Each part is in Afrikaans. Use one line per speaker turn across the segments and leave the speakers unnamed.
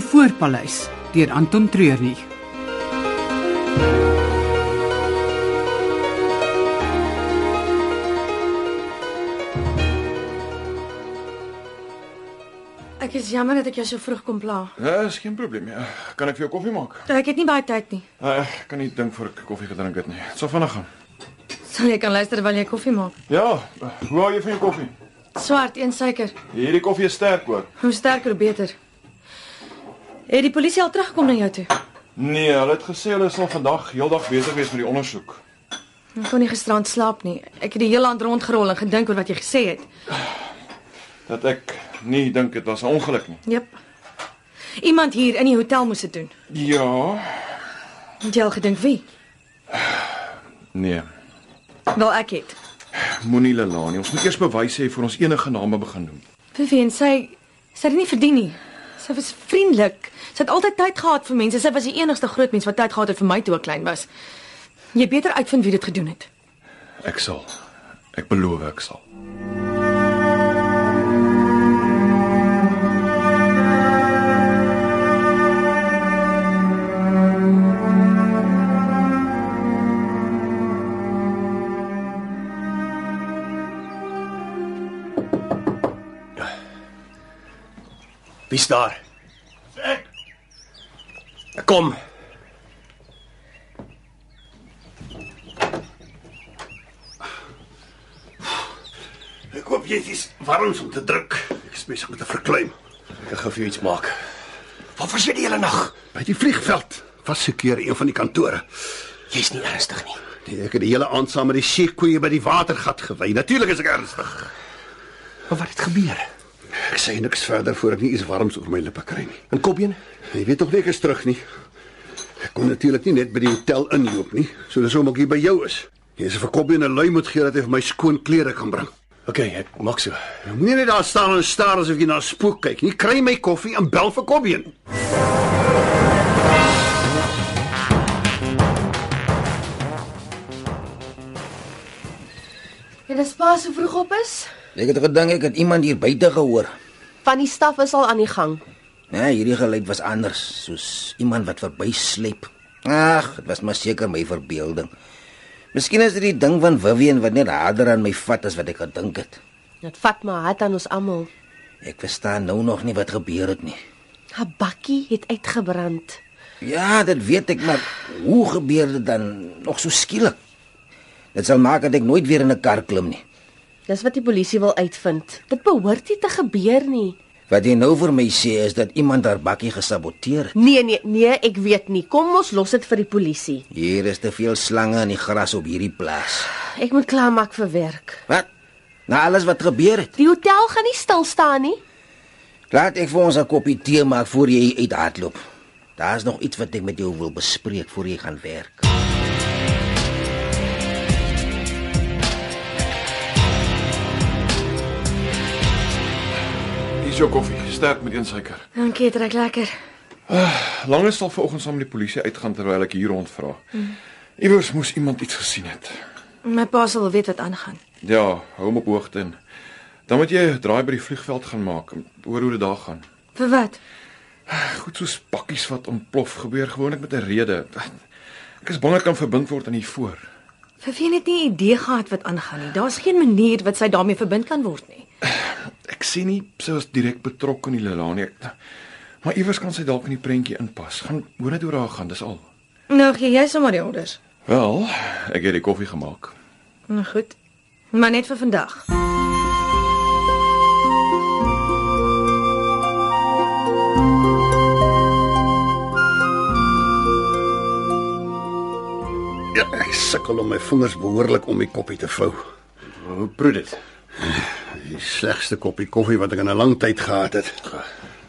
Spoorpaleis deur Anton Treurnig.
Ek is jammer dat ek jou so vroeg kom pla.
Ja, is geen probleem ja. Kan ek vir jou koffie maak?
Ek het nie baie tyd nie.
Uh, ek kan nie dink voor ek koffie gedrink het nie. Dit sal vinnig gaan.
Sal jy kan luister terwyl jy koffie maak?
Ja, eh, hoe hou jy van jou koffie?
Swart, een suiker.
Hierdie koffie is sterk hoor.
Hoe sterker hoe beter. Het die polisie al teruggekom na jou toe?
Nee, hulle het gesê hulle sal vandag heeldag besig wees met die ondersoek.
Ek kon nie gisterand slaap nie. Ek het die hele aand rondgerol en gedink oor wat jy gesê het.
Dat ek nie dink dit was 'n ongeluk nie.
Jep. Iemand hier in die hotel moes dit doen.
Ja.
Het jy al gedink wie?
Nee.
Wel ek het.
Moenie Lelani, ons moet eers bewys hê voor ons enige name begin noem.
Vivian, sy sy het dit nie verdien nie. Sy was vriendelik. Sy het altyd tyd gehad vir mense. Sy was die enigste groot mens wat tyd gehad het vir my toe ek klein was. Jy beter uitvind wie dit gedoen het.
Ek sal. Ek beloof ek sal.
Wie's daar? Ek. Kom.
Ek hoop jy het iets warms om te druk. Ek is besig met 'n verkleim.
Ek gaan vir jou iets maak.
Waar was jy die hele nag? By die vliegveld. Was seker een van die kantore.
Jy's nie ernstig nie.
Nee, ek het die hele aand saam met die seekoeie by die watergat gewy. Natuurlik is ek ernstig.
Maar wat het gebeur?
Ek sê niks verder voor ek nie iets warms oor my lippe kry nie.
En Kopjeen?
Jy weet tog nie ek is terug nie. Ek kon natuurlik nie net by die hotel inloop nie. So dis hoekom ek hier by jou is. Jy is 'n verkoppie en 'n lui moet gee dat hy vir my skoon klere kan bring.
OK, ek maak so.
Nou Moenie net daar staan en staar asof jy na 'n spook kyk nie. Kry my koffie en bel vir Kobbeen.
Jy dis pas so vroeg op is?
Ek het gedink ek het iemand hier buite gehoor.
Van die staf is al aan die gang.
Nee, hierdie geluid was anders, soos iemand wat verbysleep. Ag, dit was maar seker my verbeelding. Miskien is dit die ding van Vivian wat net harder aan my vat as wat ek gedink het.
Dit vat maar hard aan ons almal.
Ek verstaan nou nog nie wat gebeur het nie.
Haar bakkie het uitgebrand.
Ja, dit weet ek, maar hoe gebeur dit dan nog so skielik? Dit sal maak dat ek nooit weer in 'n kar klim nie.
Dis wat die polisie wil uitvind. Dit behoort nie te gebeur nie.
Wat jy nou vir my sê is dat iemand haar bakkie gesaboteer het.
Nee nee nee, ek weet nie. Kom ons los dit vir die polisie.
Hier is te veel slange in die gras op hierdie plaas.
Ek moet klaarmaak vir werk.
Wat? Na alles wat gebeur het.
Die hotel gaan nie stil staan nie.
Laat ek vir ons 'n koppie tee maak voor jy uit hardloop. Daar's nog iets wat ek met jou wil bespreek voor jy gaan werk.
Hier is jou koffie, sterk met een suiker.
Dankie, dit reuk lekker.
Langes sal vanoggend saam met die polisie uitgaan terwyl ek hier rondvra. Iewers moes iemand iets gesien het.
My pa sal wel weet wat aangaan.
Ja, hou hom op hoogte in. Dan moet jy 'n draai by die vliegveld gaan maak, hoor hoe dit daar gaan.
Vir wat?
Goed soos pakkies wat ontplof gebeur gewoonlik met 'n rede. Ek is bang ek kan verbind word aan hiervoor.
Vivian het nie 'n idee gehad wat aangaan nie. Daar's geen manier wat sy daarmee verbind kan word nie.
Ek sien nie sy was direk betrokke in die Lelani. Ek- Maar iewers kan sy dalk in die prentjie inpas. Gaan hoor net hoe daar gaan, dis al.
Nou gee jy sommer die orders.
Wel, ek het die koffie gemaak.
Nou goed. Maar net vir vandag.
Ja, ek sukkel om my vingers behoorlik om die koppie te vou.
Hoe proe dit?
Die slegste koppie koffie wat ek in 'n lang tyd gehad het.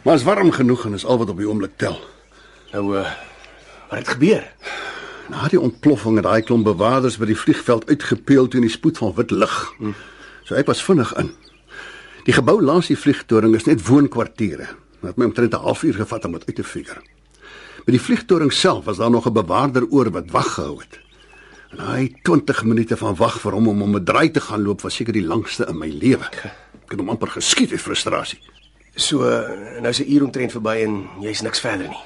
Maar is warm genoeg en is al wat op die oomblik tel.
Nou uh wat het gebeur?
Na die ontploffing het daai klomp bewaarders by die vliegveld uitgepeel teen die spoed van wit lig.
Hm.
So ek was vinnig in. Die gebou langs die vliegtoring is net woonkwartiere. Dit het my omtrent 'n halfuur gevat om dit uit te figure. By die vliegtoring self was daar nog 'n bewaarder oor wat wag gehou het. En daai 20 minute van wag vir hom om om 'n draai te gaan loop was seker die langste in my lewe. Ek het hom amper geskiet uit frustrasie.
So nou se uur omtrent verby en jy's niks verder nie.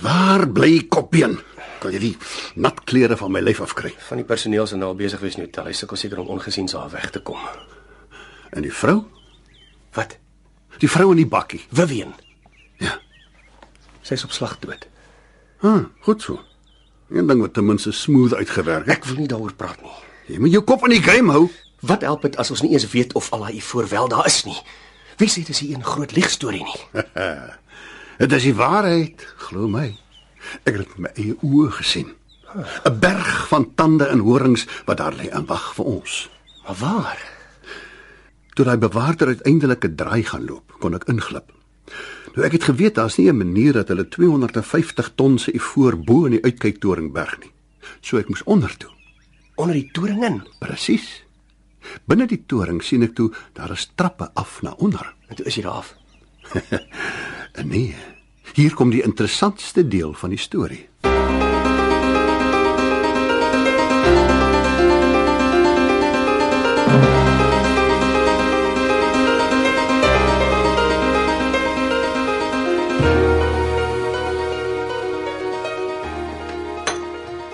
Waar bly Kopbeen? Kan jy die nat klere van my lyf afkry?
Van die personeel se nou besig wees in die hotel. Hy sukkel seker om ongesiens daar weg te kom.
En die vrou?
Wat?
Die vrou in die bakkie.
Vivian,
Ja.
sy's op slag dood.
Ah, goed so. Een ding wat ten minste smooth uitgewerk het.
Ek wil nie daaroor praat nie.
Jy moet jou kop in die game hou.
Wat help dit as ons nie eens weet of al daai voor wel daar is nie? Wie sê dis hier 'n groot leegstorie nie?
Dit is die waarheid, glo my. Ek het dit met my eie oë gesien. 'n Berg van tande en horings wat daar lê en wag vir ons.
Maar waar?
Toe daai bewaarder uiteindelik 'n draai gaan loop, kon ek inglip. Nou ek het geweet daar's nie 'n manier dat hulle 250 ton se ivoor bo in die uitkyktoringberg nie. So ek moes onder toe.
Onder die toring in.
Presies. Binne die toring sien ek toe daar is trappe af na onder.
En toe is jy daar af.
En nee, hier kom die interessantste deel van die storie.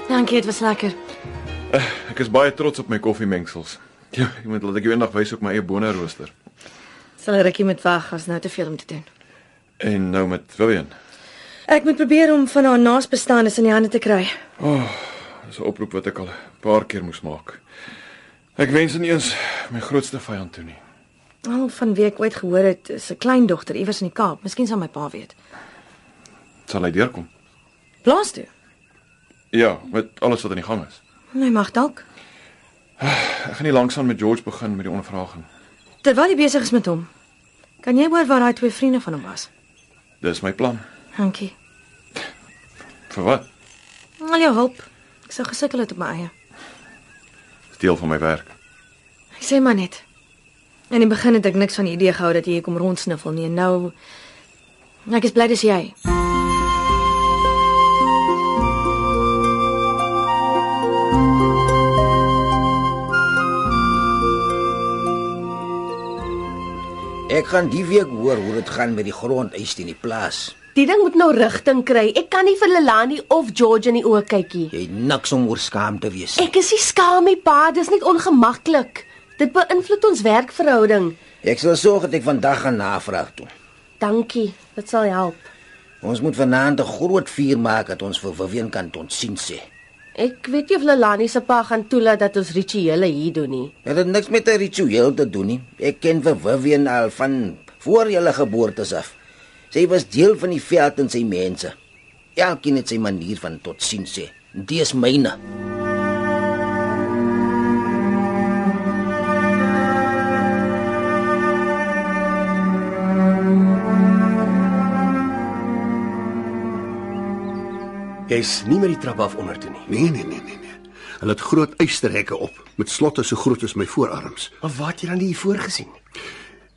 Dankie, dit was lekker.
Ek is baie trots op my koffiemengsels. Ja, ek moet laat ek jou eendag wys op my eie bonerooster.
Sal 'n rukkie met weg, as nou te veel om te doen.
En nou met Vivian.
Ek moet probeer om van haar naasbestaandes in die hande te kry.
Dis 'n oproep wat ek al 'n paar keer moes maak. Ek wens nie eens my grootste vyand toe nie.
Al van wie ek ooit gehoor het, is 'n kleindogter iewers in die Kaap. Miskien sal my pa weet.
Sal hy deurkom?
Blaas toe.
Ja, met alles wat aan die gang is.
Hy mag dalk.
Ek gaan nie langsaan met George begin met die ondervraging.
Terwyl jy besig is met hom, kan jy hoor waar daai twee vriende van hom was?
Dis my plan.
Dankie.
Vir wat?
Al jou hulp. Ek sou gesukkel het op my eie.
Dis deel van my werk.
Ek sê maar net. In die begin het ek niks van die idee gehou dat jy hier kom rondsniffel nie en nou ek is bly dis jy.
Ek gaan die week hoor hoe dit gaan met die grondeis in die plaas.
Die ding moet nou rigting kry. Ek kan nie vir Lelani of George in die oë kyk nie.
Jy het niks om oor skaam te wees. nie.
Ek is nie skaam nie, pa, dis net ongemaklik. Dit beïnvloed ons werkverhouding.
Ek sal sorg dat ek vandag gaan navraag toe.
Dankie, dit sal help.
Ons moet vanaand 'n groot vuur maak dat ons vir Vivian kan ontsien sê.
Ek weet nie of Lelani se pa gaan toelaat dat ons rituele hier doen nie.
Dit het niks met 'n ritueel te doen nie. Ek ken vir Vivian al van voor julle geboortes af. Sy was deel van die veld en sy mense. Elkeen het sy manier van totsien sê. Dis myne.
Jy's nie met die trap af onder toe nie.
Nee, nee, nee, nee, nee. Hulle het groot eysterhekke op met slotte so groot as my voorarms.
Maar waar het jy dan die voor gesien?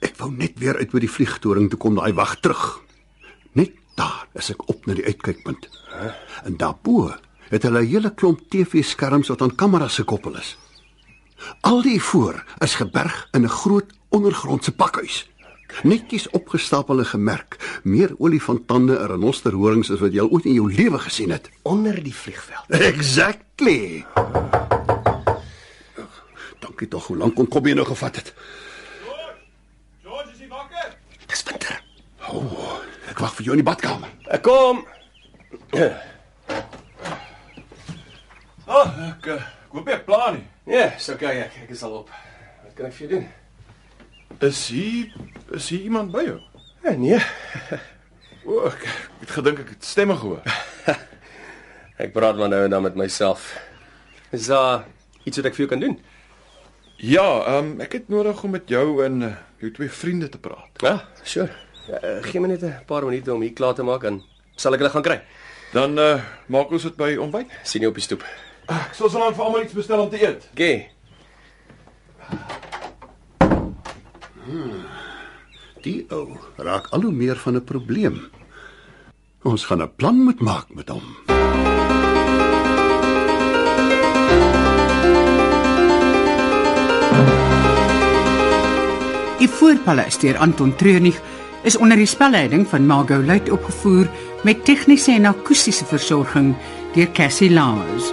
Ek wou net weer uit by die vliegtoring toe kom, daai wag terug. Net daar is ek op na die uitkykpunt. En daarbo het hulle 'n hele klomp TV-skerms wat aan kameras gekoppel is. Al die voor is geberg in 'n groot ondergrondse pakhuis. Netjies opgestapel en gemerk, meer olifantande en renosterhorings as wat jy al ooit in jou lewe gesien het.
Onder die vliegveld.
Exactly. Dankie tog hoe lank kon kom jy nou gevat het.
Dis winter.
Ek wag vir jou in die badkamer.
Ek kom. Nee,
Ek eh, ek hoop jy het plan nie.
Ja, so kyk ek, ek is al op. Wat kan ek vir jou doen?
Is hier is hier iemand by jou?
Ja, nee,
O, ek, ek het gedink ek het stemme gehoor.
ek praat maar nou en dan met myself. Is daar iets wat ek vir jou kan doen?
Ja, ehm um, ek het nodig om met jou en eh, jou twee vriende te praat.
Ja, sure. Uh, gee my net 'n paar minute om hier klaar te maak en sal ek hulle gaan kry.
Dan uh, maak ons dit by ontbyt.
Sien jou op die stoep.
Ek sal sodoende vir almal iets bestel om te eet.
Okay.
Die ou raak al hoe meer van 'n probleem. Ons gaan 'n plan moet maak met hom.
Die Voorpaleis deur Anton Treurnig is onder die spelleiding van Margot Luit opgevoer met tegniese en akoestiese versorging deur Cassie Lawes.